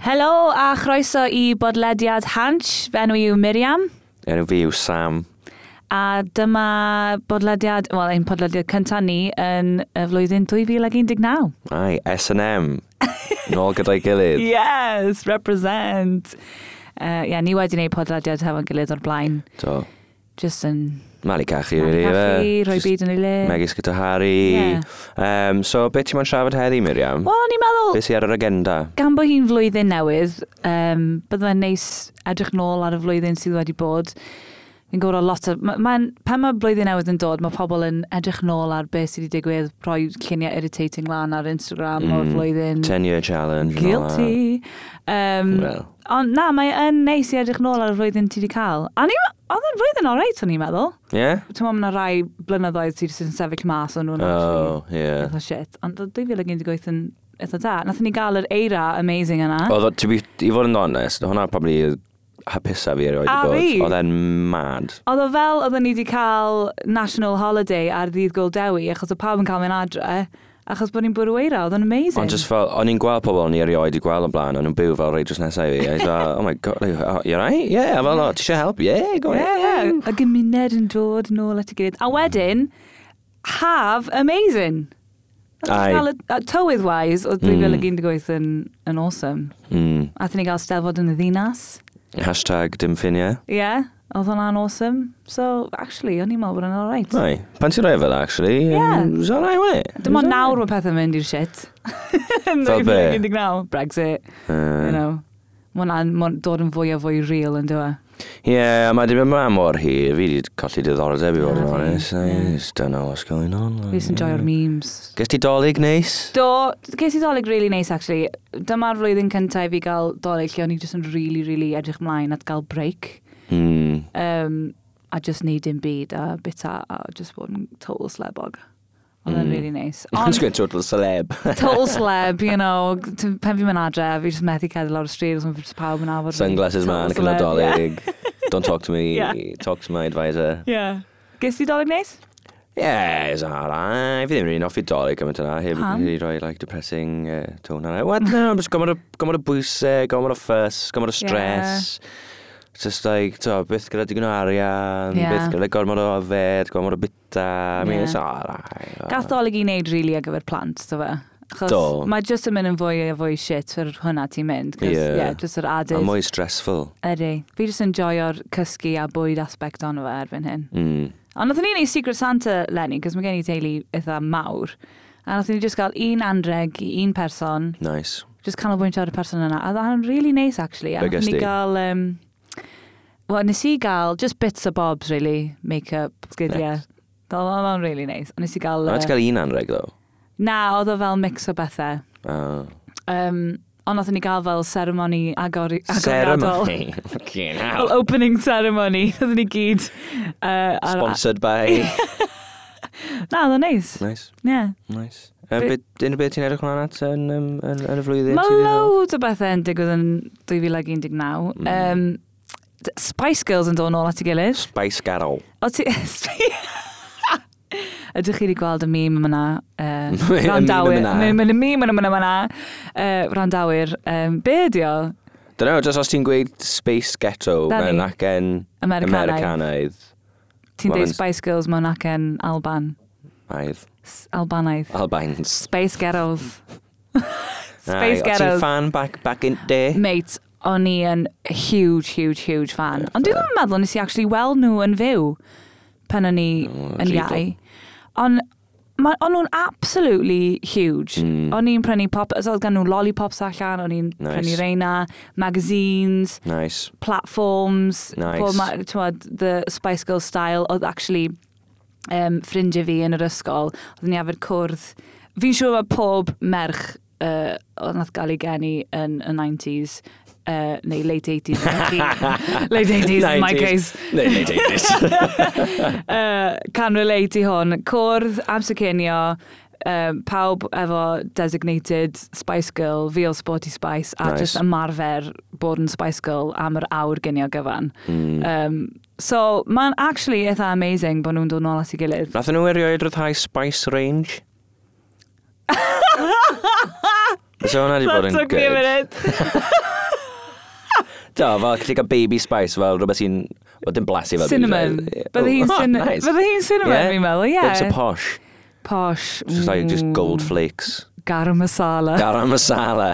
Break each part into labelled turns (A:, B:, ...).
A: Helo a chroeso i bodlediad Hansh, fenw i yw Miriam.
B: Enw fi yw Sam.
A: A dyma bodlediad, wel ein podlediad cyntaf ni yn y flwyddyn 2019.
B: Ai, S&M. Nôl gyda'i gilydd.
A: Yes, represent. Uh, yeah, ni wedi gwneud podlediad hefo'n gilydd o'r blaen.
B: Do.
A: Just yn...
B: Mali cachu,
A: Malu
B: really.
A: cachu,
B: ife?
A: rhoi
B: Jyst
A: byd yn ei le.
B: Megis gyda Harry.
A: Ie.
B: Um, so, beth ti'n ma'n siarad heddi, Miriam?
A: Wel, ni'n meddwl,
B: Beth sy'n ar yr agenda?
A: gan bod hi'n flwyddyn newydd, um, byddai'n neis edrych nôl ar y flwyddyn sydd wedi bod. Fi'n gwybod o lot o... ma- Mae'n... Pan mae blwyddyn newydd yn dod, mae pobl yn edrych nôl ar beth sydd wedi digwydd, rhoi lluniau irritating lan ar Instagram mm. o'r flwyddyn.
B: 10-year challenge. and all that.
A: Guilty. Um,
B: Wel.
A: Ond na, mae yn neis i edrych nôl ar y flwyddyn ti wedi cael. A ni, oedd yn flwyddyn o'r reit, o'n i'n meddwl.
B: Ie?
A: Ti'n meddwl, mae yna rai blynyddoedd ti jyst yn sefyll mas o'n nhw'n
B: O, Oh, ie.
A: eitha shit. Ond oedd 2018 yn eitha da. Nathon ni gael yr eira amazing yna.
B: Oedd, o- to be- i fod yn honest, hwnna probably y hapusa fi erioed
A: A
B: i bod.
A: fi.
B: Oedd e'n mad.
A: Oedd o fel oedden ni wedi cael national holiday ar ddydd Goldewi, achos o pawb yn cael mynd adre, achos bod ni'n bwrw eira, oedd o'n amazing.
B: Ond just fel, o'n i'n gweld pobl o'n i erioed i gweld o'n blaen, o'n nhw'n byw fel reid drws nesaf i fi. A i fel, oh my god, like, oh, you're right? Yeah, a fel, "Oh, ti eisiau help? Yeah, go
A: Ie,
B: on.
A: ie. Y gymuned yn dod nôl at y gilydd. A wedyn, haf amazing.
B: Ai.
A: Tywydd wise, oedd 2018 yn, yn awesome.
B: Mm.
A: Athyn ni gael steddfod yn y ddinas.
B: Hashtag dim ffiniau.
A: Ie, yeah, oedd hwnna'n awesome. So, actually, o'n i'n meddwl bod yn alright.
B: Ai, pan ti'n rhoi e fel, actually,
A: Yeah.
B: yeah. it was all right, wasn't it?
A: Dim ond nawr mae pethau mynd i'r shit. Yn
B: Fel be?
A: 2019, Brexit, you
B: Uh,
A: know. Mae hwnna'n ma' hwnna'n dod yn fwy a fwy real e? yn dywa.
B: yeah, mae di mynd ma mor hir, fi wedi colli diddordeb i fod yn
A: Na, fi-
B: honest.
A: ie.
B: I just don't know what's going on.
A: Fi jyst yn joio'r memes.
B: Ges ti dolyg neis?
A: Do, ges i dolyg really nice actually. Dyma'r flwyddyn cyntaf i fi gael dolyg lle o'n i jyst yn really, really edrych mlaen at gael break.
B: Mm.
A: Um, a just neud dim byd a bita a just bod yn total slebog. Oedd mm.
B: Mm.
A: really nice.
B: I'm
A: Ond
B: just going to total celeb.
A: total sleb, you know, t- pen fi mynd adre, fi jyst methu cedd lawr y stryd, os mae pawb yn afod. fi.
B: Sunglasses man,
A: Total
B: can I
A: celeb, ie.
B: dolyg? Don't talk to me,
A: Yeah.
B: talk to my advisor.
A: Yeah. Ges ti dolyg neis?
B: Yeah, it's alright. Fi ddim rili'n offi dolyg gymaint yna. Heb
A: Pam?
B: i roi like, depressing uh, tone yna. Wel, no, just gomod o, gomod o bwysau, gomod o ffys, gomod o stress. Just like, to, byth gyda digon o arian,
A: Yeah.
B: byth gyda gormod o yfed, gormod o bita. I mean,
A: Yeah.
B: it's alright.
A: Gath dolyg i wneud rili ar gyfer plant, do fe? Achos
B: Do.
A: mae jyst yn mynd yn fwy a fwy shit fyr hwnna ti'n mynd. 'cos,
B: Ie.
A: Yeah, just yr
B: A
A: added.
B: mwy stressful.
A: Ydy. Fi jyst yn joio'r cysgu a bwyd aspect ond fe erbyn hyn.
B: Mm.
A: Ond nath ni neud Secret Santa lenni, cos mae gen i teulu eitha mawr. A nath ni just gael un anreg i un person,
B: Nice.
A: just canolbwyntio ar y person yna. A dda'n really nice, actually. A
B: Be
A: nath
B: gest
A: ni
B: ti?
A: gael... Um, Wel, nes i gael just bits o bobs, really. Make-up, sgidiau.
B: Nice.
A: Oedd o'n really nice. A nes i gael...
B: Uh,
A: uh,
B: Ond gael un anreg, ddo.
A: Na, oedd o fel mix o bethau.
B: Uh,
A: Um, ond nath ni gael fel seremoni agor, agoriadol.
B: ceremony. Fucking
A: Fel
B: hell.
A: opening ceremony, nath ni gyd. Uh, ar-
B: Sponsored by...
A: Na, oedd o'n neis.
B: nice,
A: Yeah.
B: nice. Uh,
A: Be-
B: bit, unrhyw beth ti'n edrych hwnna'n at yn, um, yn, yn y flwyddyn?
A: Mae
B: ti 'di ddod?
A: loads o bethau yn digwydd yn 2019.
B: Mm.
A: Um, d- Spice Girls yn dod nôl at ei gilydd.
B: Spice Girl.
A: O ti... Ydych chi wedi gweld y mîm yma
B: Y
A: na?
B: meme
A: Randawyr.
B: yna.
A: Y mîm yma yna. Randawyr. Um, Be ydi o?
B: Dyna, just os ti'n gweud Space Ghetto
A: Na ni.
B: mewn acen
A: Americanaidd.
B: Americanaidd.
A: Ti'n
B: Wel,
A: dweud
B: yn-
A: Spice Girls mewn acen Alban.
B: Aidd.
A: S- Albanaidd.
B: Albines.
A: Space Girls. Space
B: Aye, O ti'n
A: Girls.
B: fan back, back in day?
A: Mate, o'n i yn huge, huge, huge fan. Ond dwi ddim yn meddwl nes i actually weld nhw yn fyw pan o'n i
B: O,
A: yn
B: Lidl.
A: iau. Ond ma- o'n nhw'n absolutely huge.
B: Mm.
A: O'n i'n prynu pop, os oedd gan nhw lollipops allan, o'n i'n
B: Nice.
A: prynu reina, magazines,
B: Nice.
A: platforms,
B: Nice.
A: pob ma- t'mod, the Spice Girls style, oedd actually um, ffrindiau fi yn yr ysgol, oedd ni afod cwrdd. Fi'n siŵr mae pob merch uh, oedd nath gael ei geni yn y 90s, uh, neu late 80s, late 80s in my
B: 90s.
A: case,
B: Neu, neu, neu,
A: uh, can relate i hwn. Cwrdd, amser cinio, um, pawb efo designated Spice Girl, fi o Sporty Spice, a
B: Nice.
A: just ymarfer bod yn Spice Girl am yr awr ginio gyfan.
B: neu.
A: Um, so, mae'n actually eitha amazing bod nhw'n dod nôl at ei gilydd.
B: Nath nhw erioed rhyddhau Spice Range? So hwnna di bod yn
A: took me a
B: good.
A: minute.
B: Do, fel gallu cael baby spice, fel rhywbeth sy'n... Wel, dim blasu fel...
A: Cinnamon. Bydde
B: Oh,
A: hi'n cin- bydde hi'n cinnamon, fi'n meddwl, ie.
B: It's a posh.
A: Posh.
B: It's just like just
A: mm,
B: gold flakes.
A: Garam masala.
B: Garam masala.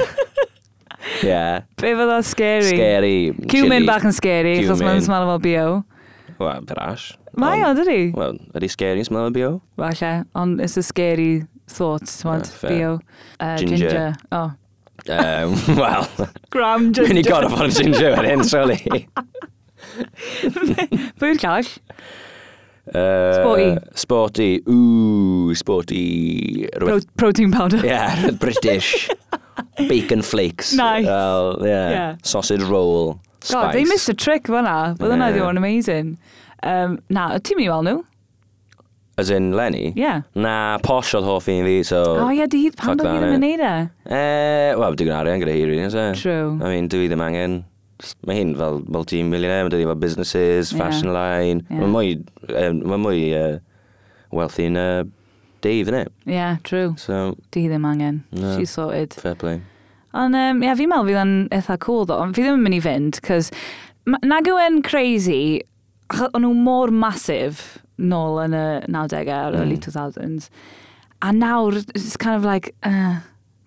B: yeah.
A: Be fydd o scary?
B: Scary.
A: Cumin
B: chili.
A: bach yn scary, achos
B: Cumin.
A: mae'n smell fel bio.
B: Wel, brash.
A: Mae o,
B: Ond-
A: dydi?
B: Wel, ydi scary yn smell o bio?
A: Falle, ond it's a scary thought,
B: Ah,
A: t'mod,
B: fair.
A: bio. Uh,
B: Ginger.
A: Oh.
B: Um, Wel,
A: Gram
B: dwi'n i
A: ginger.
B: gorau fod yn ginger fan hyn, soli.
A: Pwy'r llall?
B: Sporty. Sporty. Ooh, sporty.
A: Pro
B: Rhywbeth
A: protein powder.
B: Yeah, British. Bacon flakes.
A: Nice.
B: Well, yeah.
A: Yeah.
B: Sausage roll. Spice.
A: God, they missed a trick fan na. Bydd hwnna
B: Yeah.
A: yeah. o'n amazing. Um, na, ti'n mynd i weld nhw?
B: As in Lenny?
A: Yeah.
B: Na, posh oedd hoff un fi, so...
A: O oh, ie, di,
B: fuck
A: pan bod fi
B: that,
A: ddim yn
B: innit?
A: neud e?
B: Eh, Wel, dwi'n arian gyda hi, rydyn, so...
A: True.
B: I mean, dwi ddim angen... Mae hyn fel multi-millionaire, mae dydi fel businesses,
A: Yeah.
B: fashion line.
A: Yeah.
B: Mae mwy, um, mae mwy uh, wealthy yn uh, Dave, innit?
A: Yeah, true.
B: So,
A: Di ddim angen.
B: No.
A: She's sorted.
B: fair play.
A: Ond um, ia, fi'n meddwl fydd o'n eitha cool ddo, ond fi ddim yn mynd i fynd, cos ma- nag yw e'n crazy, achos o'n nhw mor masif nôl yn y 90au, mm. early 2000s, a nawr, it's kind of like, uh,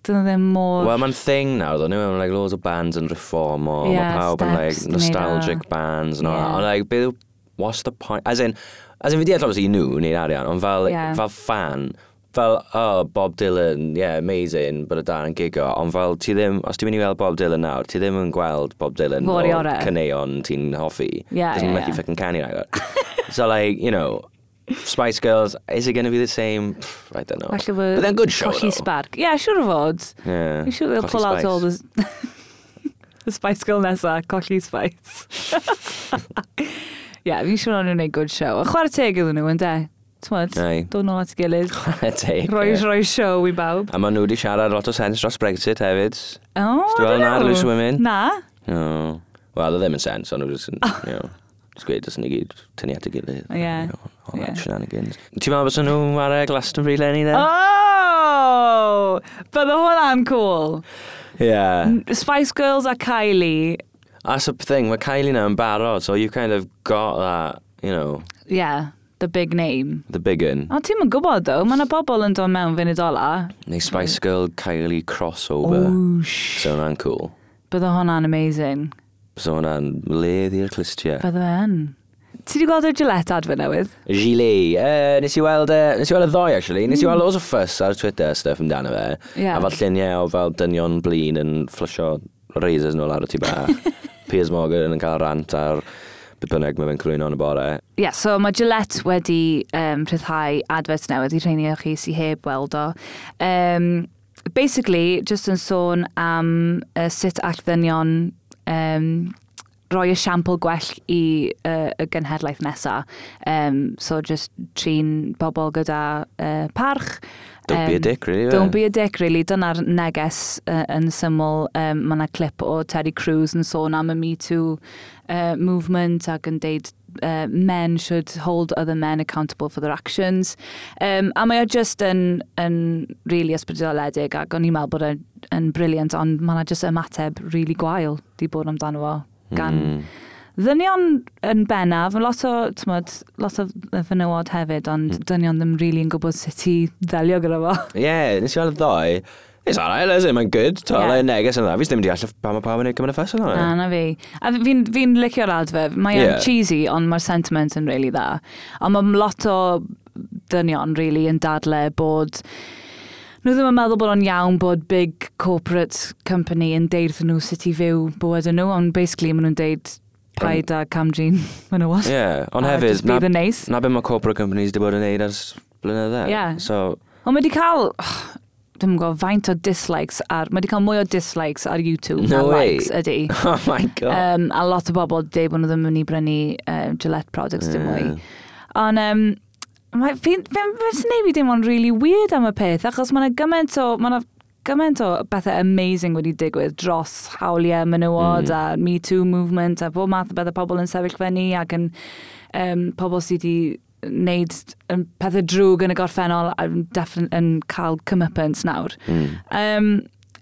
A: dyn nhw ddim mor...
B: Wel, mae'n thing nawr, though. Anyway, like, loads of bands yn reform o.
A: Yeah,
B: Yeah, mae pawb yn, like,
A: steps to neud
B: nostalgic
A: o.
B: bands and all that.
A: Yeah.
B: Ond, like, beth, what's the point? As in, as in, fi deall, obviously, nhw wneud arian, ond fel,
A: Yeah.
B: fel fan, fel, oh, Bob Dylan, yeah, amazing, but y dar yn gigo, ond fel, ti ddim, os ti'n mynd i weld Bob Dylan nawr, ti ddim yn gweld Bob Dylan
A: Fo'r i
B: o
A: orau.
B: caneuon ti'n hoffi.
A: Yeah,
B: Doesn't
A: yeah,
B: make you
A: yeah.
B: fucking canu ragor. so, like, you know, Spice Girls, is it going to be the same? Pff, I don't know.
A: Falle fod-
B: But they're a good show,
A: Colli
B: though.
A: spark. Yeah, siwr o fod.
B: Yeah.
A: You sure they'll
B: Colli
A: pull out
B: Spice.
A: all the... the Spice Girl nesa, colli Spice. yeah, fi'n siŵr o'n nhw'n gwneud good show. A chwarae teg iddyn nhw, yn de? T'mod?
B: Aye.
A: Dod nôl at ei gilydd.
B: Take
A: Roi,
B: it.
A: roi show i bawb.
B: A maen nhw wedi siarad lot o sens dros Brexit hefyd.
A: Oh,
B: Sti weld na, Lewis Women?
A: Na.
B: No. Wel, dda ddim yn sens, ond nhw jyst yn, you know, jyst gweud, dysyn ni gyd tynnu at y gilydd.
A: Yeah.
B: You know, all
A: Yeah.
B: that shenanigans. Ti'n meddwl bod nhw'n ar y Glastonbury Lenny then?
A: Oh! Bydde hwnna'n cool.
B: Yeah.
A: Spice Girls a Kylie.
B: That's the thing, mae Kylie now yn barod, so you've kind of got that, you know,
A: Yeah, the big name.
B: the big un.
A: O, ti'n yn gwybod, ddo. Mae yna bobl yn dod mewn fynd ola.
B: Neu Spice Girl Kylie crossover.
A: Wwsh.
B: So hwnna'n cool.
A: Bydde hwnna'n amazing.
B: So hwnna'n ledd i'r clustiau.
A: Bydde fe'n. Ti di gweld y Gillette adfod newydd?
B: Gili. Uh, nes i weld, uh, nes i weld y ddoi, actually. Nes i weld loads o fuss ar Twitter a stuff amdano fe.
A: Mm. Ie.
B: A fel lluniau o fel dynion blin yn fflysio razors nôl ar y tu bach. Piers Morgan yn cael rant ar beth bynnag mae fe'n crwyno yn y bore.
A: Ie, yeah, so mae Gillette wedi um, rhyddhau adfod newydd i rheini o chi sy'n heb weld o. Um, basically, just yn sôn am uh, sut all ddynion um, roi esiampl gwell i uh, y gynhedlaeth nesaf. Um, so just trin bobl gyda uh, parch.
B: Don't be a dick, really, eh? fe?
A: Don't be a dick, really. Dyna'r neges uh, yn syml. Um, mae yna clip o Terry Crews yn sôn am y Me Too uh, movement ac yn deud uh, men should hold other men accountable for their actions. Um, a mae o just yn, yn really ysbrydoledig ac o'n i'n meddwl bod e'n- yn briliant, ond mae yna just ymateb really gwael di bod amdano fo gan
B: Mm.
A: Ddynion yn bennaf, mae lot o, tmod, lot o fenywod hefyd, ond mm. dynion ddim really yn gwybod sut i ddelio gyda fo.
B: Yeah, nes i weld y ddoi. It's alright, is it? Mae'n good. To,
A: Ie.
B: yeah. neges yn dda. Fi ddim wedi all pa mae pawb yn ei gymryd y ffas yn
A: Na,
B: dda.
A: na fi. A fi- fi'n fi licio'r adfer. Mae'n
B: Ie.
A: yeah. cheesy, ond mae'r sentiment yn really dda. Ond mae'n lot o dynion, really, yn dadle bod... Nhw ddim yn meddwl bod o'n iawn bod big corporate company yn deud wrthyn nhw sut i fyw bywyd nhw, ond basically maen nhw'n deud paid a camdrin menywod.
B: Yeah, ond
A: A
B: hefyd,
A: Ah, just be
B: na,
A: the nice.
B: na beth mae corporate companies wedi bod yn neud ers blynydde.
A: Ie.
B: So,
A: Ond mae wedi cael, oh, dwi'n gwybod, faint o dislikes ar, mae wedi cael mwy o dislikes ar YouTube
B: No
A: na
B: way.
A: likes ydy.
B: oh my god.
A: Um, a lot o bobl deud bod nhw ddim yn mynd i brynu um, Gillette products dim mwy.
B: Ie.
A: Ond um, mae- fi'n neud fi dim ond really weird am y peth, achos mae yna gymaint o, mae yna gymaint o bethau amazing wedi digwydd dros hawliau menywod mm. a Me Too movement a bob math o bethau pobl yn sefyll fyny ac yn um, pobl sydd wedi wneud yym, pethau drwg yn y gorffennol a yn, definite- yn cael comeuppance nawr.
B: Mm.
A: Um,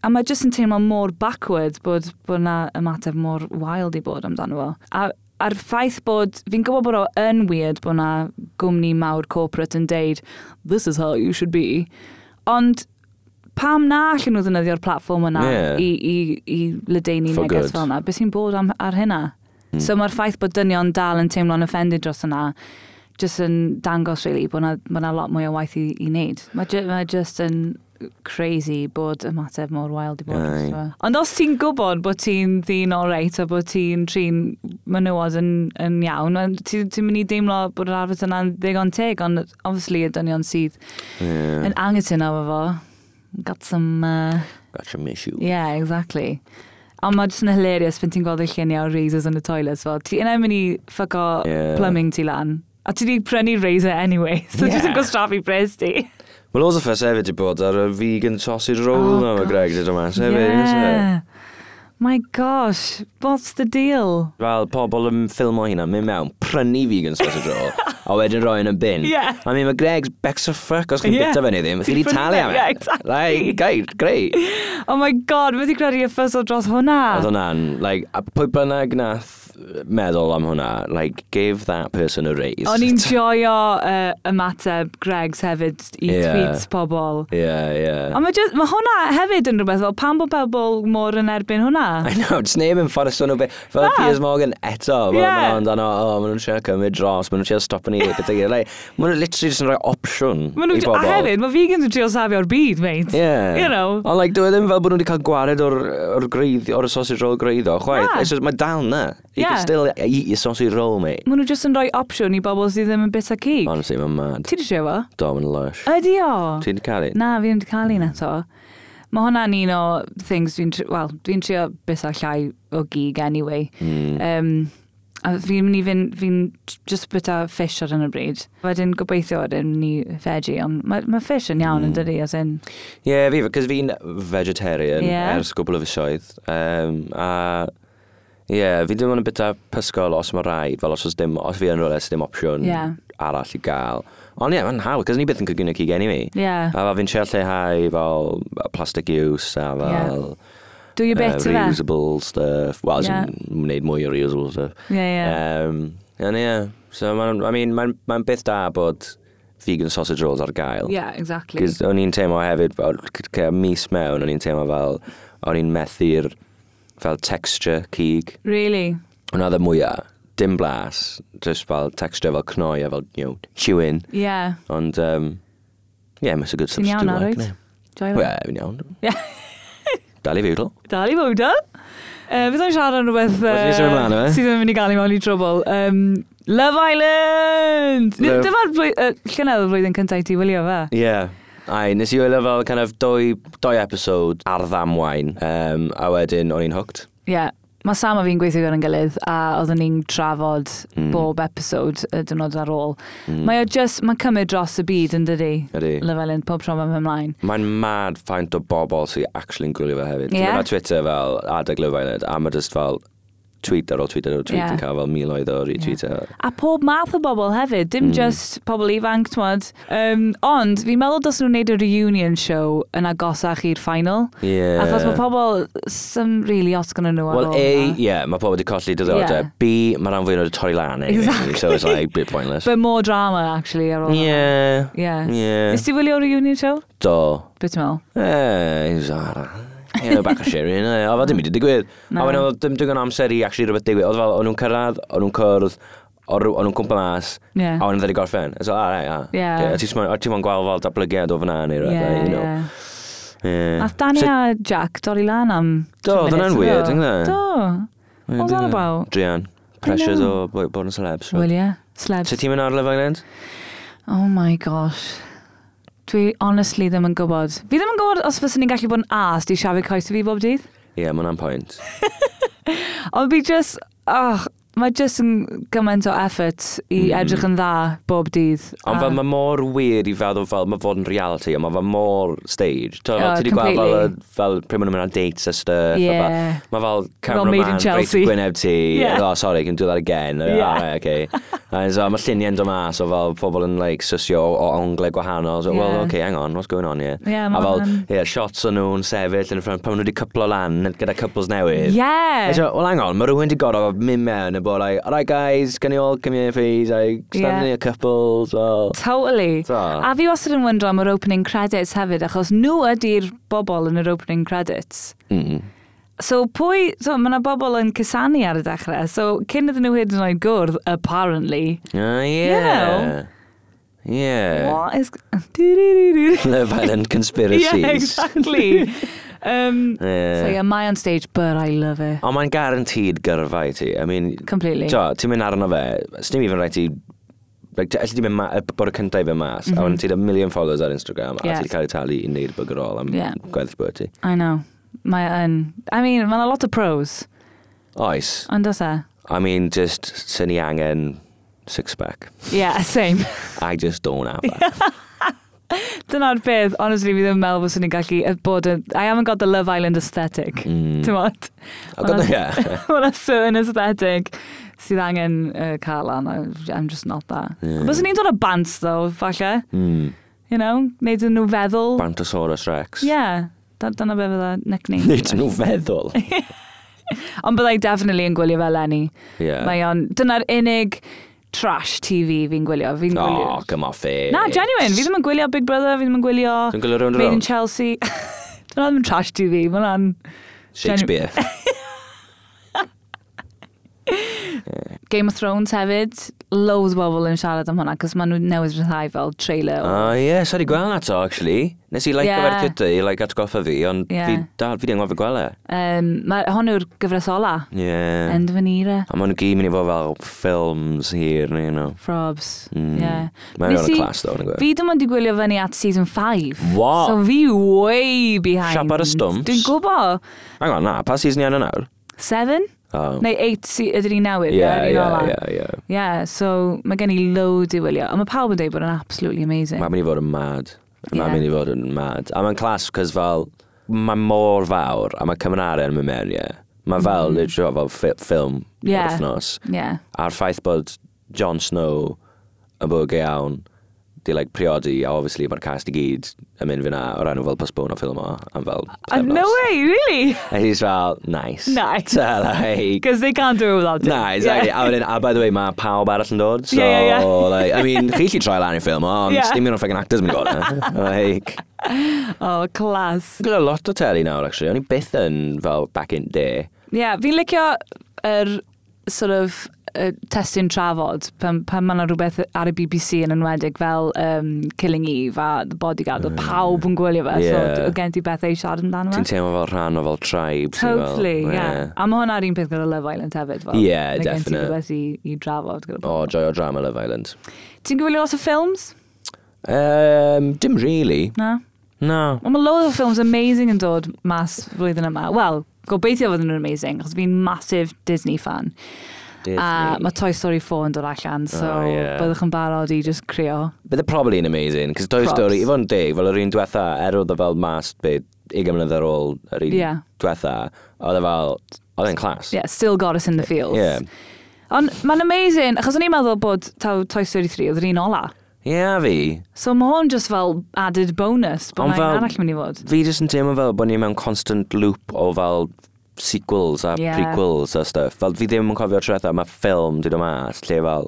A: A mae jyst yn teimlo mor backward bod, bod na ymateb mor wild i bod amdano fo. A a'r ffaith bod, fi'n gwybod bod o yn weird bod na gwmni mawr corporate yn deud, this is how you should be. Ond pam na allan nhw ddefnyddio'r platform yna
B: Ie.
A: i, i, i ledeini
B: For
A: neges
B: good. Hmm.
A: fel yna? Beth sy'n bod am, ar hynna? So mae'r ffaith bod dynion dal yn teimlo'n offended dros yna, jyst yn dangos really bod na, bod na lot mwy o waith i, i wneud. Mae ju- mae jyst yn crazy bod ymateb mor wild i bod.
B: Aye.
A: So. Ond os ti'n gwybod bod ti'n ddyn o reit a bod ti'n trin menywod yn, yn iawn, wel, ti- ti'n mynd i deimlo bod yr arfer yna'n ddigon teg, ond obviously y dynion sydd
B: Yeah.
A: yn angytun efo fo. Got some... Uh,
B: Got some issue.
A: yeah, exactly. Ond mae jyst yn hilarious pan ti'n gweld y lluniau o razors yn y toilet. Fel, ti yna mynd i ffuco
B: Ie.
A: plumbing ti lan. A ti wedi prynu razor anyway, so yeah. jyst yn
B: Ie.
A: gwastraffu bres ti.
B: Wel, oedd y ffes hefyd i bod ar y vegan sausage
A: Oh,
B: roll na, mae
A: gosh.
B: Greg dyd yma. Hefyd,
A: Yeah. My gosh, what's the deal?
B: Fel pobl yn ffilm o hynna, mynd mewn, prynu vegan sausage roll, a wedyn roi yn y bin.
A: Ie.
B: I mean, mae Greg's becks o ffuck, os chi'n
A: Ie.
B: yeah. bita fe ni ddim,
A: Ti'n
B: chi di
A: prynu
B: talu
A: fe,
B: am e.
A: ie, exactly.
B: Like, great, great.
A: Oh my god, mae wedi credu y ffysol dros hwnna.
B: Oedd hwnna'n, like, a pwy bynnag nath meddwl am hwnna, like, give that person a raise.
A: O'n i'n joio uh, ymateb Gregs hefyd i
B: Ie.
A: yeah. tweets pobl.
B: Yeah, yeah.
A: Ond mae, jyst- mae hwnna hefyd yn rhywbeth fel pan bod pobl mor yn erbyn hwnna.
B: I know, just neb yn ffordd sôn o beth. Fel
A: Na.
B: Piers Morgan eto, fel
A: Ie.
B: yeah. maen nhw'n dan o, o, maen nhw'n siarad cymryd dros, maen nhw'n siarad stop yn ei beth i. Like, maen nhw'n literally just yn rhoi opsiwn i
A: Ma
B: bobl.
A: nhw, a hefyd, mae vegans yn trio safio'r byd, mate.
B: Yeah.
A: You know.
B: Ond like, dwi ddim fel bod nhw wedi cael gwared o'r, or greidd, o'r sausage roll greiddo, chwaith.
A: Na.
B: It's just, mae dal na. You
A: Ah. Yeah.
B: can still eat your sausage roll, mate.
A: Mae nhw jyst yn rhoi opsiwn i bobl sydd ddim yn bit a cig.
B: Honestly, mae'n mad.
A: Ti wedi trio fo?
B: Dom yn lush.
A: Ydi o?
B: Ti'n cael un?
A: Na, fi ddim wedi cael
B: Mm.
A: un eto. Mae hwnna'n un o things dwi'n trio, wel, dwi'n trio bus a llai o gig anyway.
B: Mm.
A: Um, a fi'n mynd i fynd, fi'n just bita fish ar yn y bryd. Wedyn gobeithio ar yn ni veggie, ond mae ma fish yn
B: Mm.
A: iawn yn dydi, as in.
B: Ie, yeah, fi, cos fi'n vegetarian
A: Ie.
B: ers gwbl o fisoedd. Um, a, ie, yeah, fi ddim yn bita pysgol os mae rhaid, fel os, oes dim, os fi yn rolau, dim opsiwn
A: Ie.
B: arall i gael. Ond ie, yeah, mae'n hawdd, cos ni byth yn cygyno cig anyway.
A: Yeah.
B: A fel fi'n siarad lleihau fel plastic use a fel...
A: Ie. Dwi y bit
B: uh,
A: i fe.
B: reusable stuff. Wel, yeah.
A: Yeah.
B: wneud mwy o reusable stuff.
A: Ie, ie.
B: Um, and yeah, so mae'n I mean, ma ma beth da bod vegan sausage rolls ar gael.
A: Yeah, exactly.
B: Cys o'n i'n teimlo hefyd, fel, c- c- mis mewn, o'n i'n teimlo fel, o'n i'n methu'r fel texture cig.
A: Really?
B: O'n oedd y mwyaf, dim blas, just fel texture fel cnoi a fel, you know, chewing.
A: Yeah.
B: Ond, um, yeah, mae'n a good
A: Ti'n
B: substitute.
A: iawn ar
B: like,
A: oed?
B: innit?
A: Joio.
B: Wel, fi'n iawn.
A: Ie.
B: Dal i fiwdl.
A: Dal i fod o. Uh, Fydd o'n siarad yn rhywbeth
B: Wel, ti'n symud ymlaen o fe?
A: sydd yn mynd i gael i mewn i trwbl. Um, Love Island! Ni-
B: Love-
A: Dyma'r blwy- yy, llynedd y flwyddyn cyntaf i ti wylio fe.
B: Ie. Ai, nes i wylio fel kind of dwy, dwy episode ar ddamwain, um, a wedyn o'n i'n hooked.
A: Ie. Mae Sam a fi'n gweithio gyda'n gilydd a oedden ni'n trafod
B: Mm.
A: bob episod y dynod ar ôl.
B: Mm.
A: Mae o just, mae'n cymryd dros y byd yn dydi,
B: Ydy.
A: Love Island, pob tro mae'n ymlaen.
B: Mae'n mad faint o bobl sy'n actually yn gwylio fe hefyd.
A: Ie.
B: Yeah. Mae'n Twitter fel adeg Love Island, a mae just fel tweet ar ôl tweet ar ôl tweet
A: Ie.
B: yn cael fel miloedd o retweet. Yeah.
A: A pob math o bobl hefyd, dim mm. just pobl ifanc, twad. Um, ond, fi'n meddwl dos nhw'n neud y reunion show yn agosach i'r final.
B: Yeah.
A: Achos mae pobl sy'n really os gan nhw ar
B: Wel, eh,
A: ôl.
B: A, ie,
A: hwnna.
B: yeah, mae pobl wedi colli diddordeb.
A: Ie.
B: Yeah. B, mae rhan fwy'n oed torri lan. anyway,
A: Exactly.
B: So it's like, bit pointless.
A: But more drama, actually, ar ôl. hwnna.
B: Yeah.
A: Yeah.
B: Yeah.
A: Nes ti wylio reunion show?
B: Do.
A: Beth ti'n meddwl?
B: Eh, he's alright. Ie, yeah, bach o sherry yna. A fel
A: Mm.
B: dim wedi digwydd.
A: Na.
B: A wedyn oedd dim digon o amser i actually rhywbeth digwydd. Oedd fel, o'n nhw'n cyrraedd, o'n nhw'n cwrdd, o'n nhw- o'n nhw'n cwmpa mas,
A: Ie.
B: a o'n nhw'n ddod i gorffen. It's all right, ah.
A: Ie.
B: Ie, Ti'n sm- o, ti'n mwyn gweld fel datblygiad o fyna neu rhaid, like, you know. Ie.
A: Nath Danny
B: So-
A: a Jack dorri lan am...
B: Do,
A: two
B: oedd
A: minutes,
B: hwnna'n weird, e?
A: do?
B: ynghyd?
A: Do. What was that about?
B: Drian. Pressures
A: know.
B: o bo- bod yn celebs.
A: Wel, ie. Slebs.
B: So ti'n mynd ar Love Island?
A: Oh my gosh. Dwi honestly ddim yn gwybod. Fi ddim yn gwybod os fyswn ni'n gallu bod yn as di siafio coes i fi bob dydd.
B: Ie, yeah, mae'n am pwynt.
A: Ond fi just, oh, mae just yn gymaint o effort i edrych yn dda bob dydd.
B: Mm. Ond fel mae mor wir i feddwl fel mae fod yn reality, ond mae fel mor stage. Ti'n
A: Oh,
B: oh, ti 'di gweld fel,
A: completely.
B: y- fel pryd maen nhw'n mynd ar dates a stuff. a
A: Yeah.
B: fel- Mae fel
A: made in
B: cameraman reit
A: Chelsea.
B: gwyneb ti.
A: Yeah.
B: Oh, sorry, can do that again. Yeah.
A: Yeah.
B: Oh, right, okay. And so, mae lluniau'n dod mas o fel pobl yn like, sysio o o onglau gwahanol. So,
A: Yeah.
B: well, okay, hang on, what's going on here?
A: Yeah,
B: a
A: ma'
B: fel,
A: hwnna'n-
B: yeah, shots o nhw'n sefyll yn y ffrant, pan maen nhw wedi cwplo lan gyda couples newydd.
A: Yeah.
B: So, well, hang on, mae rhywun di gorau mynd mewn a bod like, alright guys, can you all come here please, like,
A: Yeah.
B: stand in a couples, well.
A: Totally.
B: So.
A: A fi wastad yn wyndro am yr opening credits hefyd, achos nhw ydy'r bobl yn yr opening credits.
B: Mm.
A: So pwy, so mae yna bobl yn cysanu ar y dechrau, so cyn iddyn nhw hyd yn oed gwrdd, apparently.
B: Uh, yeah.
A: know.
B: Yeah.
A: What is... yeah,
B: Love Island conspiracies.
A: exactly. um,
B: Yeah.
A: So yeah, my on stage, but I love it.
B: Ond mae'n guaranteed gyrfa i ti. I mean,
A: Completely.
B: to, ti'n mynd arno fe, snim even rhaid ti Like, ti- Elli di mynd ma- y- bod y cyntaf i fe mas, mm -hmm. a wedyn ti'n a million followers ar Instagram,
A: Mhm.
B: a
A: Yes.
B: ti wedi cael ei talu i wneud bygger all am
A: Yeah.
B: yeah. gweddill bod ti.
A: I know. Mae yn... I mean, mae'n a lot of pros,
B: Oes,
A: ond does e?
B: I mean, just, sy'n ni angen six-pack.
A: Yeah, same.
B: I just don't have that.
A: Dyna'r beth, honestly, fi ddim yn meddwl fos ni'n gallu yy, bod yn... I haven't got the Love Island aesthetic.
B: Mm.
A: Ti'n modd?
B: I've got the, yeah.
A: Wel, a certain aesthetic sydd angen uh, cael an. I- I'm just not that.
B: Yeah.
A: Yeah. Bys ni'n dod o bants, though, falle.
B: mm.
A: You know? Neud yn nhw feddwl.
B: Bantosaurus Rex.
A: Yeah. Da- Dyna beth fydda nickname.
B: Nid nhw feddwl.
A: Ond byddai definitely yn gwylio fel Lenny.
B: Yeah.
A: Mae o'n... Dyna'r unig trash TV fi'n gwylio. Fi'n gwylio.
B: Oh, come off it.
A: Na, genuine. Fi ddim yn gwylio Big Brother, fi ddim yn gwylio
B: Dwi'n gwylio rownd a
A: Made in
B: rownd.
A: Chelsea. Dyna ddim yn trash TV. Mae hwnna'n
B: Shakespeare.
A: Game of Thrones hefyd. Loads o bobl yn siarad am hwnna, cos maen nhw newydd rhyddhau fel trailer. o-
B: Ah, ie, sori gweld na to, actually. Nes i like
A: Yeah.
B: yeah. gyfer Twitter, i like atgoffa fi, ond
A: Yeah.
B: yeah. fi dal, fi di anghofio gweld e.
A: Um, mae hon yw'r gyfres ola.
B: Yeah.
A: End of an era.
B: A maen nhw gyd mynd i fod fel ffilms hir, you know.
A: Frobs.
B: Mm.
A: Yeah.
B: Mae'n
A: Nes
B: rhan
A: i-
B: o class, though, yn y gwe.
A: Fi dim ond i gwylio fyny at season 5.
B: What?
A: So fi way behind.
B: Siap ar y stumps.
A: Dwi'n gwybod.
B: Hang on, na, pa season i anna nawr?
A: 7?
B: Oh.
A: Neu 8 se- ydyn ni newydd.
B: yeah,
A: ie, yr un
B: yeah,
A: ola.
B: yeah, yeah.
A: Yeah, so mae gen i load i wylio. Ond mae pawb yn dweud bod yn absolutely amazing.
B: Mae'n mynd i fod yn mad. Mae'n
A: Yeah.
B: mynd i fod yn mad. A mae'n clas, cos fel, mae'n mor fawr, a mae Cymraeg yn mynd mewn, ie. Mae fel, mm. literally, fel ffi- ffilm
A: Ie.
B: yeah. wythnos.
A: Yeah.
B: A'r ffaith bod Jon Snow yn bwg iawn, di like priodi, a obviously mae'r cast i gyd yn mynd fyna o'r enw fel postpone o ffilm o, am fel
A: Uh, no way, really?
B: And he's fel, nice.
A: Nice.
B: So, like,
A: Because they can't do it without it.
B: Na, exactly.
A: Yeah.
B: Yeah. A wedyn, a by the way, mae pawb arall yn dod. So,
A: Yeah, yeah, yeah.
B: like, I mean, chi chi troi lan i'r ffilm, ond
A: Yeah.
B: yeah. dim un o'r ffegin actors mynd i fod yna. Like,
A: Oh, class.
B: Dwi'n gwylio lot o teli nawr, actually. O'n i byth yn fel back in day.
A: Yeah, fi'n licio yr sort of uh, testyn trafod pan, pan mae yna rhywbeth ar y BBC yn enwedig fel um, Killing Eve a The Bodyguard, oedd pawb yn gwylio fe, so
B: Yeah.
A: oedd gen ti beth ei siarad amdano
B: Mm. Ti'n
A: fe.
B: teimlo fel rhan o fel tribe. ti'n fel-
A: Totally, yeah. A mae hwnna'r un peth gyda Love Island hefyd. Fel,
B: Yeah,
A: mae gen ti
B: definite.
A: rhywbeth i, i drafod. gyda
B: O,
A: pobl.
B: joy o drama Love Island.
A: Ti'n gwylio lot o ffilms?
B: Um, dim really.
A: Na?
B: No.
A: Wel, mae loads o ffilms amazing yn dod mas flwyddyn yma. Wel, gobeithio fod nhw'n amazing, achos fi'n massive Disney fan.
B: Disney.
A: A mae Toy Story 4 yn dod allan, so
B: Oh, yeah.
A: byddwch yn barod i just crio.
B: Bydd y probably yn amazing, cos Toy
A: Props.
B: Story, i fod yn dig, fel yr un diwetha, er oedd o fel mas, byd, 20 mlynedd ar ôl yr un
A: Yeah.
B: diwetha, oedd o fel, oedd e'n clas.
A: Yeah, still got us in the fields.
B: Yeah.
A: Ond mae'n amazing, achos o'n i'n meddwl bod taw Toy Story 3 oedd yr un ola.
B: Yeah, fi.
A: So mae hwn just fel added bonus, bod
B: Ond
A: mae'n
B: fel-
A: arall yn mynd i fod.
B: Fi jyst yn teimlo fel bod ni mewn constant loop o fel sequels a
A: Yeah.
B: yeah. prequels a stuff. Fel fi ddim yn cofio trwetha, mae ffilm dwi'n mas, lle fel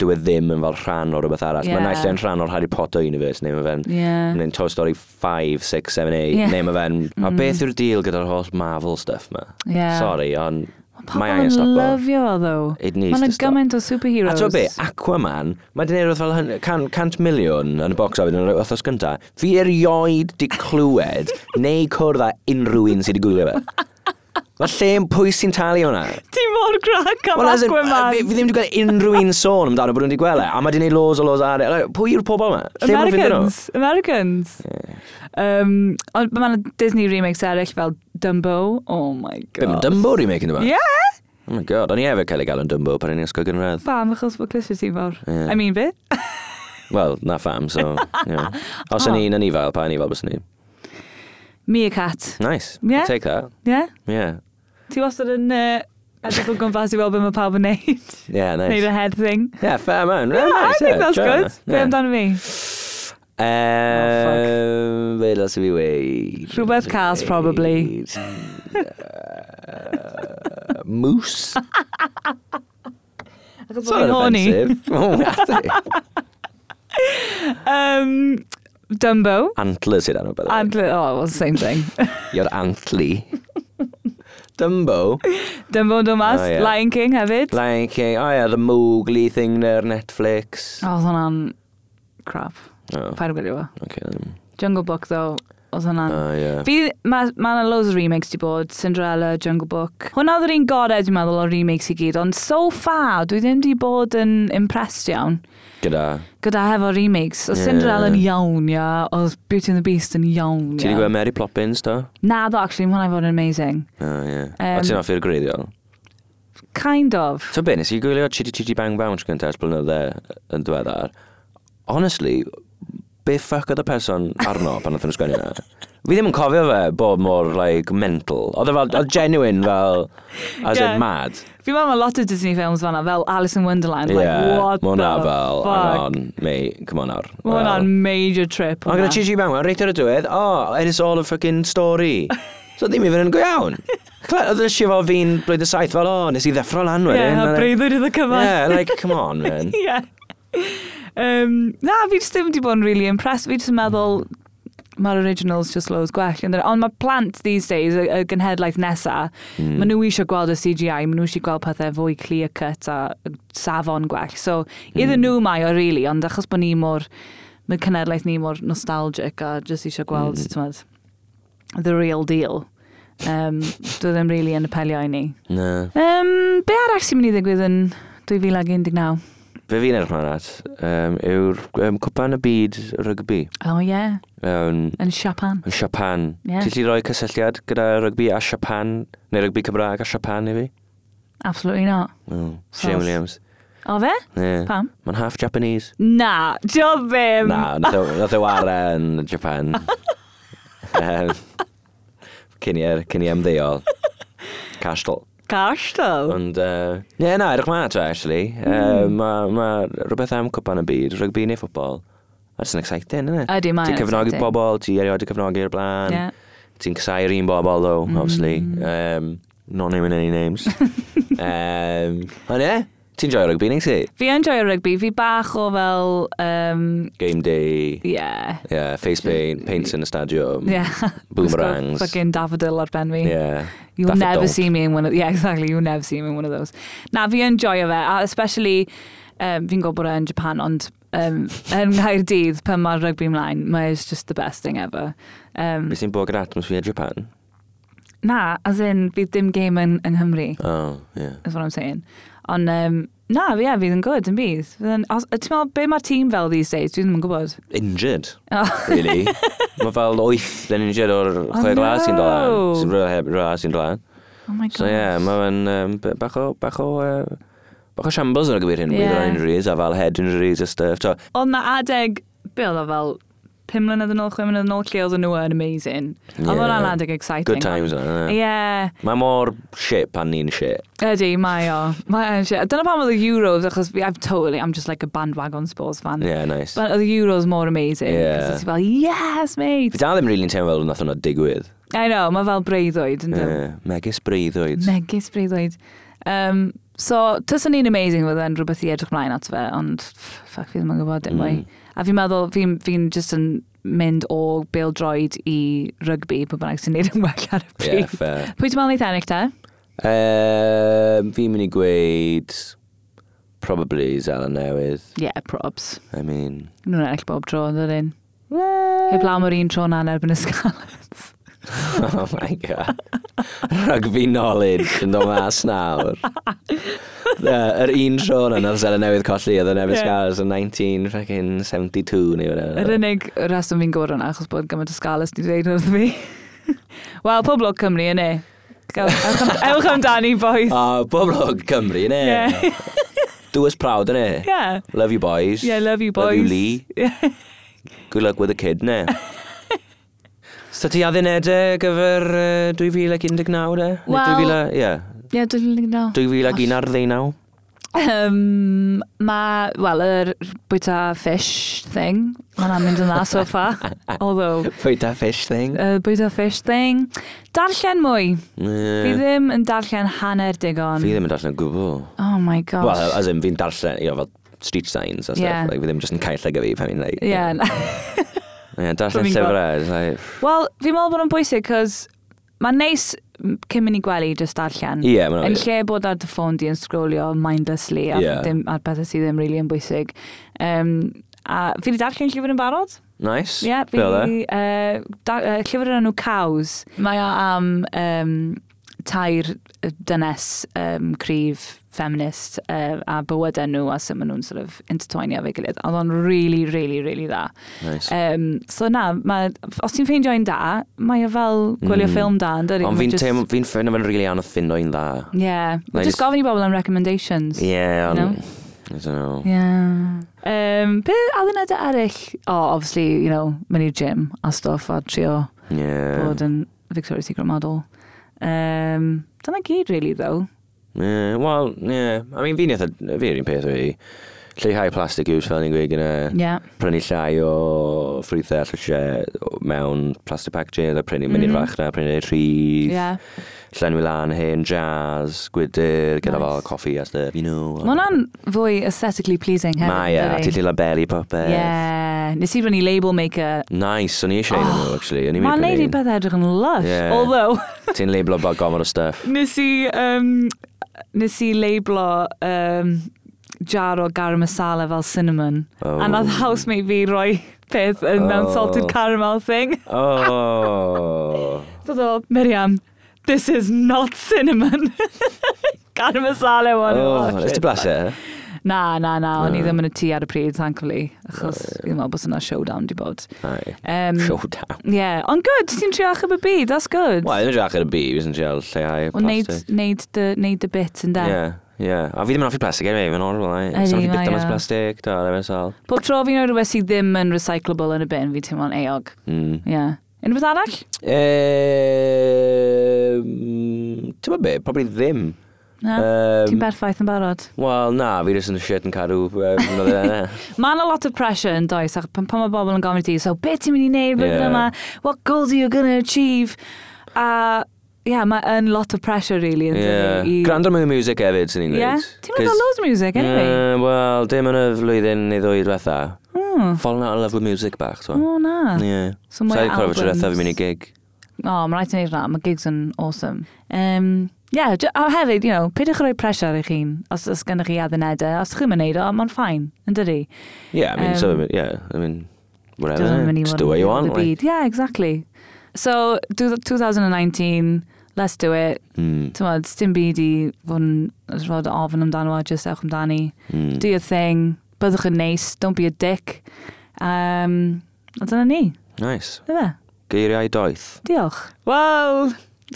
B: dyw e ddim yn fel rhan o rhywbeth arall.
A: Yeah.
B: Mae nice yn rhan o'r Harry Potter universe, neu mae fe'n
A: Yeah.
B: yeah. Toy Story 5, 6, 7, 8,
A: Yeah.
B: yeah. neu mae fe'n... Mm. A beth yw'r deal gyda'r holl Marvel stuff ma?
A: Yeah.
B: Sorry, ond mae
A: Pobl
B: angen
A: yn
B: stopo.
A: lyfio fo, though.
B: It needs
A: Mae
B: to
A: yna
B: stop.
A: gymaint o superheroes.
B: A ti'n be, Aquaman, mae dyn rhywbeth fel hun- can- cant miliwn yn y box ofyn yn yr wythnos gyntaf. Fi erioed di clywed neu cwrdd â unrhyw un sydd wedi gwylio fe. Mae lle yn pwy sy'n talu hwnna?
A: Ti mor grac am
B: Wel, as in,
A: Aquaman.
B: Fi fi ddim wedi gweld unrhyw un sôn amdano bod nhw wedi gweld e, a mae di neud loads o loads ar e. Like, Pwy yw'r pobol yma? Lle maen nhw'n fynd nhw?
A: Americans. Americans. Um, ond mae yna Disney remakes eraill fel Dumbo. Oh my god.
B: Be, mae Dumbo remaking yma?
A: Yeah.
B: Oh my god, o'n i efo cael ei galw'n Dumbo pan o'n i'n ysgol gynradd.
A: Bam, achos bod clisio ti'n fawr.
B: Ie.
A: I mean, be?
B: Wel, na pham, so, yeah. Os yn
A: Oh.
B: un yn ifal, pa yn ifal bys ni?
A: Meerkat.
B: Nice.
A: Ie.
B: I'll take that.
A: Ie?
B: Yeah.
A: Ti wastad yn uh, edrych o gwmpas i weld beth mae pawb yn neud.
B: Yeah, nice.
A: Neud y head thing.
B: Yeah, fair man. Yeah,
A: Yeah, I
B: nice,
A: think
B: yeah,
A: that's
B: sure.
A: good. Be amdano fi?
B: Um, Be las i fi weid?
A: Rhywbeth cas, probably.
B: Uh, Moose?
A: Achos
B: It's not offensive. Oh, that's it.
A: Um, Dumbo.
B: Antlers yna nhw, by the way.
A: And, oh, well, same thing.
B: You're antly. Dumbo.
A: Dumbo and Dumas.
B: Oh, ie.
A: Lion King hefyd.
B: Lion King. Oh, yeah, the Mowgli thing there, Netflix.
A: O, oedd Oh, hwnna'n crap.
B: Oh,
A: Paid o gwirio'r
B: okay. then.
A: Jungle Book, though, oedd hwnna'n...
B: Oh, yeah.
A: Fi, mae ma yna loads o remakes di bod, Cinderella, Jungle Book. Hwna oedd yr un gorau, dwi'n meddwl, o remakes i gyd, ond so far, dwi ddim di bod yn impressed iawn
B: Gyda.
A: gyda hefo remakes. Oedd
B: Ie.
A: Cinderella yn iawn, ia, oedd Beauty and the Beast yn iawn,
B: Ti
A: ia.
B: wedi gweld Mary Poppins, do?
A: Na, do, actually, mae hwnna'n fod yn amazing.
B: Oh, yeah.
A: Yym.
B: A ti'n offi'r gwreiddiol?
A: Kind of.
B: So be, nes i gwylio Chitty Chitty Bang Bounce gyntaf ers blynydde yn diweddar. Honestly, be ffuck oedd y person arno pan oedd yn sgwennu yna? Fi ddim yn cofio fe bod mor, like, mental. Oedd e fel, oedd genuine fel, as
A: Yeah.
B: in mad.
A: Fi meddwl mae lot o Disney films fanna, fel Alice in Wonderland, like, what
B: ma' hwnna
A: the
B: fel, hang
A: fuck?
B: on, mate, come on nawr.
A: Mae hwnna'n
B: Fel-
A: major trip.
B: Ond gyda
A: hwnna.
B: Gigi Bang, reit ar y diwedd, oh, and it's all a fucking story. so ddim even yn go iawn. Cla- Oedd y sifo fi'n blwydd y saith fel, oh, nes i ddeffro lan wedyn.
A: Ie, a
B: And I-
A: breuddwyd iddo cyfan.
B: Yeah, like, come on, man.
A: Ie. Um, na, fi jyst ddim wedi bod yn really impressed. Fi jyst yn meddwl, mae'r originals just loads gwell. ynde? Ond mae plant these days, y, y gynhedlaeth nesa, mm. maen nhw eisiau gweld y CGI, maen nhw eisiau gweld pethau fwy clear cut a safon gwell. So, iddyn nhw mae o, really, ond achos bod ni mor, mae'r cynhedlaeth ni mor nostalgic a just eisiau gweld, mm. the real deal. Um, dwi ddim really yn apelio i ni.
B: Na.
A: Um, be arall sy'n mynd i ddigwydd yn 2019?
B: Fe fi'n edrych mlaen at, um, yw'r um, cwpan y byd rygbi
A: Oh yeah,
B: um,
A: yn Siapan.
B: yn Siapan.
A: Ie.
B: Ti'n ti roi cysylltiad gyda rygbi a Siapan, neu rygbi Cymraeg a Siapan i fi?
A: Absolutely not.
B: Oh,
A: Sos.
B: Shane Williams.
A: O fe?
B: Yeah.
A: Pam?
B: Mae'n half Japanese.
A: Na, job ddim.
B: Na, nath o- nath o wara yn Japan. Yym, Cyn i- er, cyn i ymddeol. Castell.
A: Castell.
B: Ond, uh, ie, na, edrych ma to, actually. Uh,
A: Hmm.
B: Mae ma rhywbeth am cwpan y byd, rygbi neu ffwbol. That's an exciting, isn't it?
A: Ydy, mae
B: Ti'n
A: yn
B: cefnogi
A: exciting.
B: bobl, ti erioed y cefnogi i'r blaen.
A: Ie. Mm.
B: Ti'n casau'r un bobl, though, obviously. Um, not naming any names. um, ond ie, ti'n joio rygbi, neu ti?
A: Fi yn joio rygbi, fi bach o fel, um,
B: Game day,
A: yeah.
B: yeah, face paint, paints yn y stadiwm.
A: Yeah.
B: Mm. Boomerangs.
A: Fucking daffodil ar ben fi.
B: Yeah.
A: You'll
B: Daffodil.
A: never see me in one of yeah exactly you'll never see me in one of those. Na fi yn joio fe a especially um, fi'n gwybod bod e yn Japan ond um, yn Nghaerdydd pan mae'r rygbi ymlaen mae it's just the best thing ever. Um,
B: Beth sy'n bod gyda atmosffer Japan?
A: na as in fydd dim game yn, yn Nghymru
B: Oh, yeah.
A: is what I'm saying. Ond um, na fi yeah, fydd yn good yn bydd. Fydd yn- os- Ti'n meddwl be mae'r tîm fel these days dwi ddim yn gwybod.
B: Injured,
A: Oh.
B: really. Mae fel wyth yn injured o'r chwe glas sy'n dod lan.
A: no.
B: Sy'n rhywle heb glas sy'n dod lan.
A: Oh my god.
B: So yeah, mae'n um, b- bach o... Bach o uh, Bach o shambles yn y gyfer hyn,
A: Ie.
B: yeah. with injuries a fel head injuries a stuff. So,
A: Oedd na adeg, be oedd o fel, 5 mlynedd yn ôl, 6 mlynedd yn ôl, lle oedd nhw yn amazing. Oedd
B: Ie.
A: hwnna'n adeg exciting.
B: good times yna.
A: Ie,
B: Yeah.
A: yeah,
B: Mae mor shit pan ni'n shit.
A: ydy, mae o. Mae o'n shit. Dyna pam oedd y Euros, achos fi, I'm totally, I'm just like a bandwagon sports fan.
B: Yeah, nice.
A: But oedd y Euros more amazing.
B: Ie.
A: Cos Ti'n fel, yes, mate!
B: Fi dal ddim rili'n teimlo fel nath hwnna digwydd.
A: I know, mae fel breuddwyd, yn dod.
B: Yeah. Megis breuddwyd.
A: Megis breuddwyd. Um, so, tyson ni'n amazing fydd yn rhywbeth i edrych mlaen at fe, ond ff- ffac fi ddim yn gwybod dim mwy. A fi'n meddwl, fi'n fi just yn mynd o bil droed i rygbi, pwy bynnag sy'n neud yn well ar y
B: Yeah,
A: pryd.
B: fair.
A: Pwy ti'n meddwl neith ennill te?
B: Um, fi'n mynd i gweud... Probably Zala Newydd.
A: Yeah, probs.
B: I mean...
A: Nw'n ennill bob tro, yn dydyn. Heb law mor un tro na yn erbyn ysgalad.
B: Oh my god. Rugby knowledge yn dod mas nawr. Yeah, Yr un tro na nath Zara newydd colli oedd yn Evis
A: Ie.
B: Gars yn 1972 neu
A: Yr
B: wna.
A: unig rheswm fi'n gwybod hwnna, achos bod gymaint ysgalus wedi dweud wrth fi. Wel, pob lwc Cymru, yna. Go. Ewch am- Ewch amdani, boys.
B: A bob lwg Cymru, ne?
A: Yeah.
B: Do us proud, ne?
A: Yeah.
B: Love you boys.
A: Yeah, love you,
B: Love you,
A: boys.
B: Lee. Good luck with the kid, ne? So ti addunedau gyfer uh, 2019, de?
A: Wel-
B: Neu 2000, yeah.
A: Ie, dwi'n lygo nawr.
B: 2019.
A: Um, mae, wel, yr bwyta fish thing, mae'n am mynd yn dda so far. Although,
B: Pwy da fish thing?
A: y bwyta fish thing, darllen mwy. Fi
B: Fi
A: ddim yn darllen hanner digon.
B: ddim yn darllen o gwbl.
A: Oh my gosh.
B: Well, as in fi'n darllen, you know, fel street signs a stuff.
A: Yeah.
B: Like, fi ddim just yn cael llygau fi pan fi'n like...
A: yeah. na-
B: Yeah, darllen
A: Dwi'n gweld.
B: llyfrau. it's Like,
A: Wel, fi'n meddwl bod o'n bwysig, cos mae'n neis m- cyn mynd i gwely just darllen.
B: Ie, ma'n
A: Yn
B: obvious.
A: lle bod ar dy ffôn di yn scrolio mindlessly a
B: Ie.
A: yeah. dim, ar bethau sydd ddim really yn bwysig. Um, a fi wedi darllen llyfr yn barod?
B: nice.
A: Ie,
B: Be oedd e?
A: fi uh, da, uh, llyfr yn enw Cows. Mae o am um, tair dynes um, cryf feminist uh, a bywydau nhw a sut maen nhw'n sort of intertwinio fe gilydd. Ond o'n really, really, really dda.
B: Nice.
A: Um, so na, ma, os ti'n ffeindio un da, mae o fel gwylio
B: Mm.
A: mm. ffilm da, yn dydi?
B: Ond
A: Ma'
B: fi'n
A: jyst-
B: teimlo, fi'n ffynu fe'n rili anodd ffindo un dda.
A: Ie, yeah.
B: Mae
A: just
B: jyst-
A: gofyn i bobl am recommendations.
B: Yeah,
A: No?
B: ond... I don't know.
A: Yeah. Um, be adnodau eraill? O, oh, obviously, you know, mynd i'r gym a stuff a trio
B: Yeah.
A: bod yn Victoria's Secret model. Um, dyna gyd, really, though.
B: Yeah, Wel, yeah. I mean, fi'n eitha... Fi'r un peth fi. Lleihau plastic use fel ni'n gweud gyda.
A: Yeah.
B: Prynu llai o ffrwythau a llysiau mewn plastic packaging. A prynu mynd i'r
A: Mhm.
B: fach na, prynu rhydd.
A: Yeah.
B: Llenwi lan hen, jazz, gwydr, gyda
A: Nice.
B: fel coffi a stuff, you know.
A: Mae hwnna'n fwy aesthetically pleasing hefyd.
B: Mae, a
A: dydi?
B: ti lle belly popeth.
A: Yeah. Nes i rynnu label maker.
B: Nice, o'n i eisiau un o'n nhw, actually. O'n i'n
A: Mae'n Oh, neud i
B: mynd
A: beth edrych yn lush.
B: Ie.
A: Although,
B: Ti'n leiblo bod gomor o stuff.
A: nes i, um, nes i labelo um, jar o garam masala fel cinnamon.
B: Oh.
A: A nath housemate fi roi peth yn oh. mewn
B: Oh.
A: salted caramel thing.
B: Oh.
A: Dod o, Miriam, this is not cinnamon. Garam masala one.
B: oh, Ys ti blase?
A: Na, na, na, o'n i
B: Na. Oh,
A: ddim yn y tŷ ar y pryd, thankfully, achos fi'n meddwl bod yna showdown di bod.
B: Ai.
A: Um,
B: Showdown.
A: Yeah, ond good, ti'n trio achub y byd, that's good.
B: Wel, ddim yn drach ar y byd, fes yn treol lleihau
A: Ond neud,
B: plastig.
A: neud, dy, neud dy bit yn da.
B: Ie, ie. A fi ddim yn hoffi plastig, anyway, fe'n horrible, ai.
A: Ydi,
B: Sa'n hoffi
A: mae
B: bit am
A: o.
B: plastig, da, da, fe'n sal.
A: Pob tro fi'n rhoi rhywbeth sydd ddim yn recyclable yn y bin, fi teimlo'n eog.
B: Mm.
A: Yeah. Unrhyw beth arall?
B: Ehm, Ti'n ma be, probably ddim.
A: Na,
B: Yym,
A: ti'n berffaith yn barod.
B: Wel, na, fi jyst yn y shit yn cadw yy, e flynydde yna.
A: Mae yna lot of pressure yn does, ac pan, pan mae bobl yn gofyn i ti, so beth ti'n mynd i wneud, beth
B: Yeah.
A: yeah. yma, what goals are you going to achieve? A, yeah, mae yn lot of pressure, really, yn dydi,
B: Ie.
A: i-
B: Grand mwy o music hefyd, sy'n i'n
A: Yeah.
B: gwneud.
A: Ti'n meddwl loads of music, anyway?
B: Wel, dim yn y flwyddyn neu ddwy diwetha.
A: Mm.
B: Fallen out of love with music bach, so.
A: O, na.
B: Ie.
A: Oh. So mwy
B: Sa'n cofio
A: albums.
B: tro diwetha fi'n mynd i gig.
A: O, oh, mae'n rhaid i wneud na, mae gigs yn awesome. Um, yeah, j- a hefyd, you know, peidiwch rhoi pressure ar eich hun, os, os gennych chi addunedau, os chi'n mynd i wneud o, mae'n ffain, yn dydi?
B: Yeah, I mean,
A: Um,
B: so, yeah, I mean, whatever.
A: Doesn't really
B: Just do what you want.
A: the
B: Like.
A: beat. Yeah, exactly. So, do- 2019, let's do it.
B: Mm,
A: Tymod, dim byd i fod yn rhod ofyn amdano a just ewch amdani.
B: mm.
A: Do your thing. Byddwch yn neis. Don't be a dick. Um, a dyna ni.
B: Nice.
A: Dyna.
B: Geiriau doeth.
A: Diolch. Wel,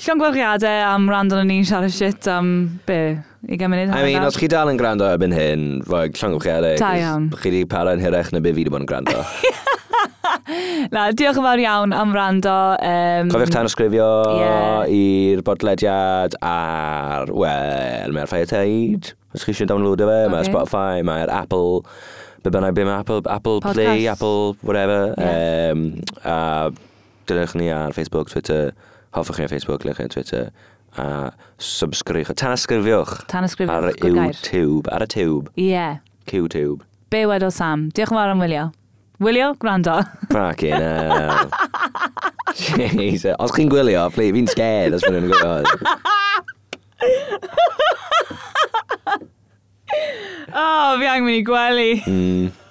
A: llon gwelchiadau am rand o'n ni'n siarad shit am be? I gael munud.
B: I mean, os chi dal yn gwrando erbyn hyn, fod llongwch chi adael.
A: Da iawn.
B: Chi di para yn hirach na be fi di bod yn gwrando.
A: Na, diolch yn fawr iawn am rando. Um,
B: Cofiwch tan ysgrifio
A: Ie.
B: i'r bodlediad ar, wel, mae'r Fireteid. Os chi eisiau downloadio fe, okay.
A: Ocê.
B: mae'r Spotify, mae'r Apple, be bynnag, be mae Apple, Apple
A: Podcast.
B: Play, Apple, whatever.
A: Ie.
B: Um, a dylech ni ar Facebook, Twitter, hoffwch chi ar Facebook, lech chi ar Twitter, a subscriwch, tan ysgrifiwch
A: Tan ysgrifiwch,
B: ar
A: good gair.
B: YouTube, ar y tube,
A: Ie. Yeah.
B: QTube.
A: Be wedodd Sam? Diolch yn fawr am wylio. Wylio, gwrando.
B: Fucking hell. Jesus. Os chi'n gwylio, please, fi'n scared os fi'n gwylio.
A: O, oh, fi angen mynd i gwely.
B: Mm.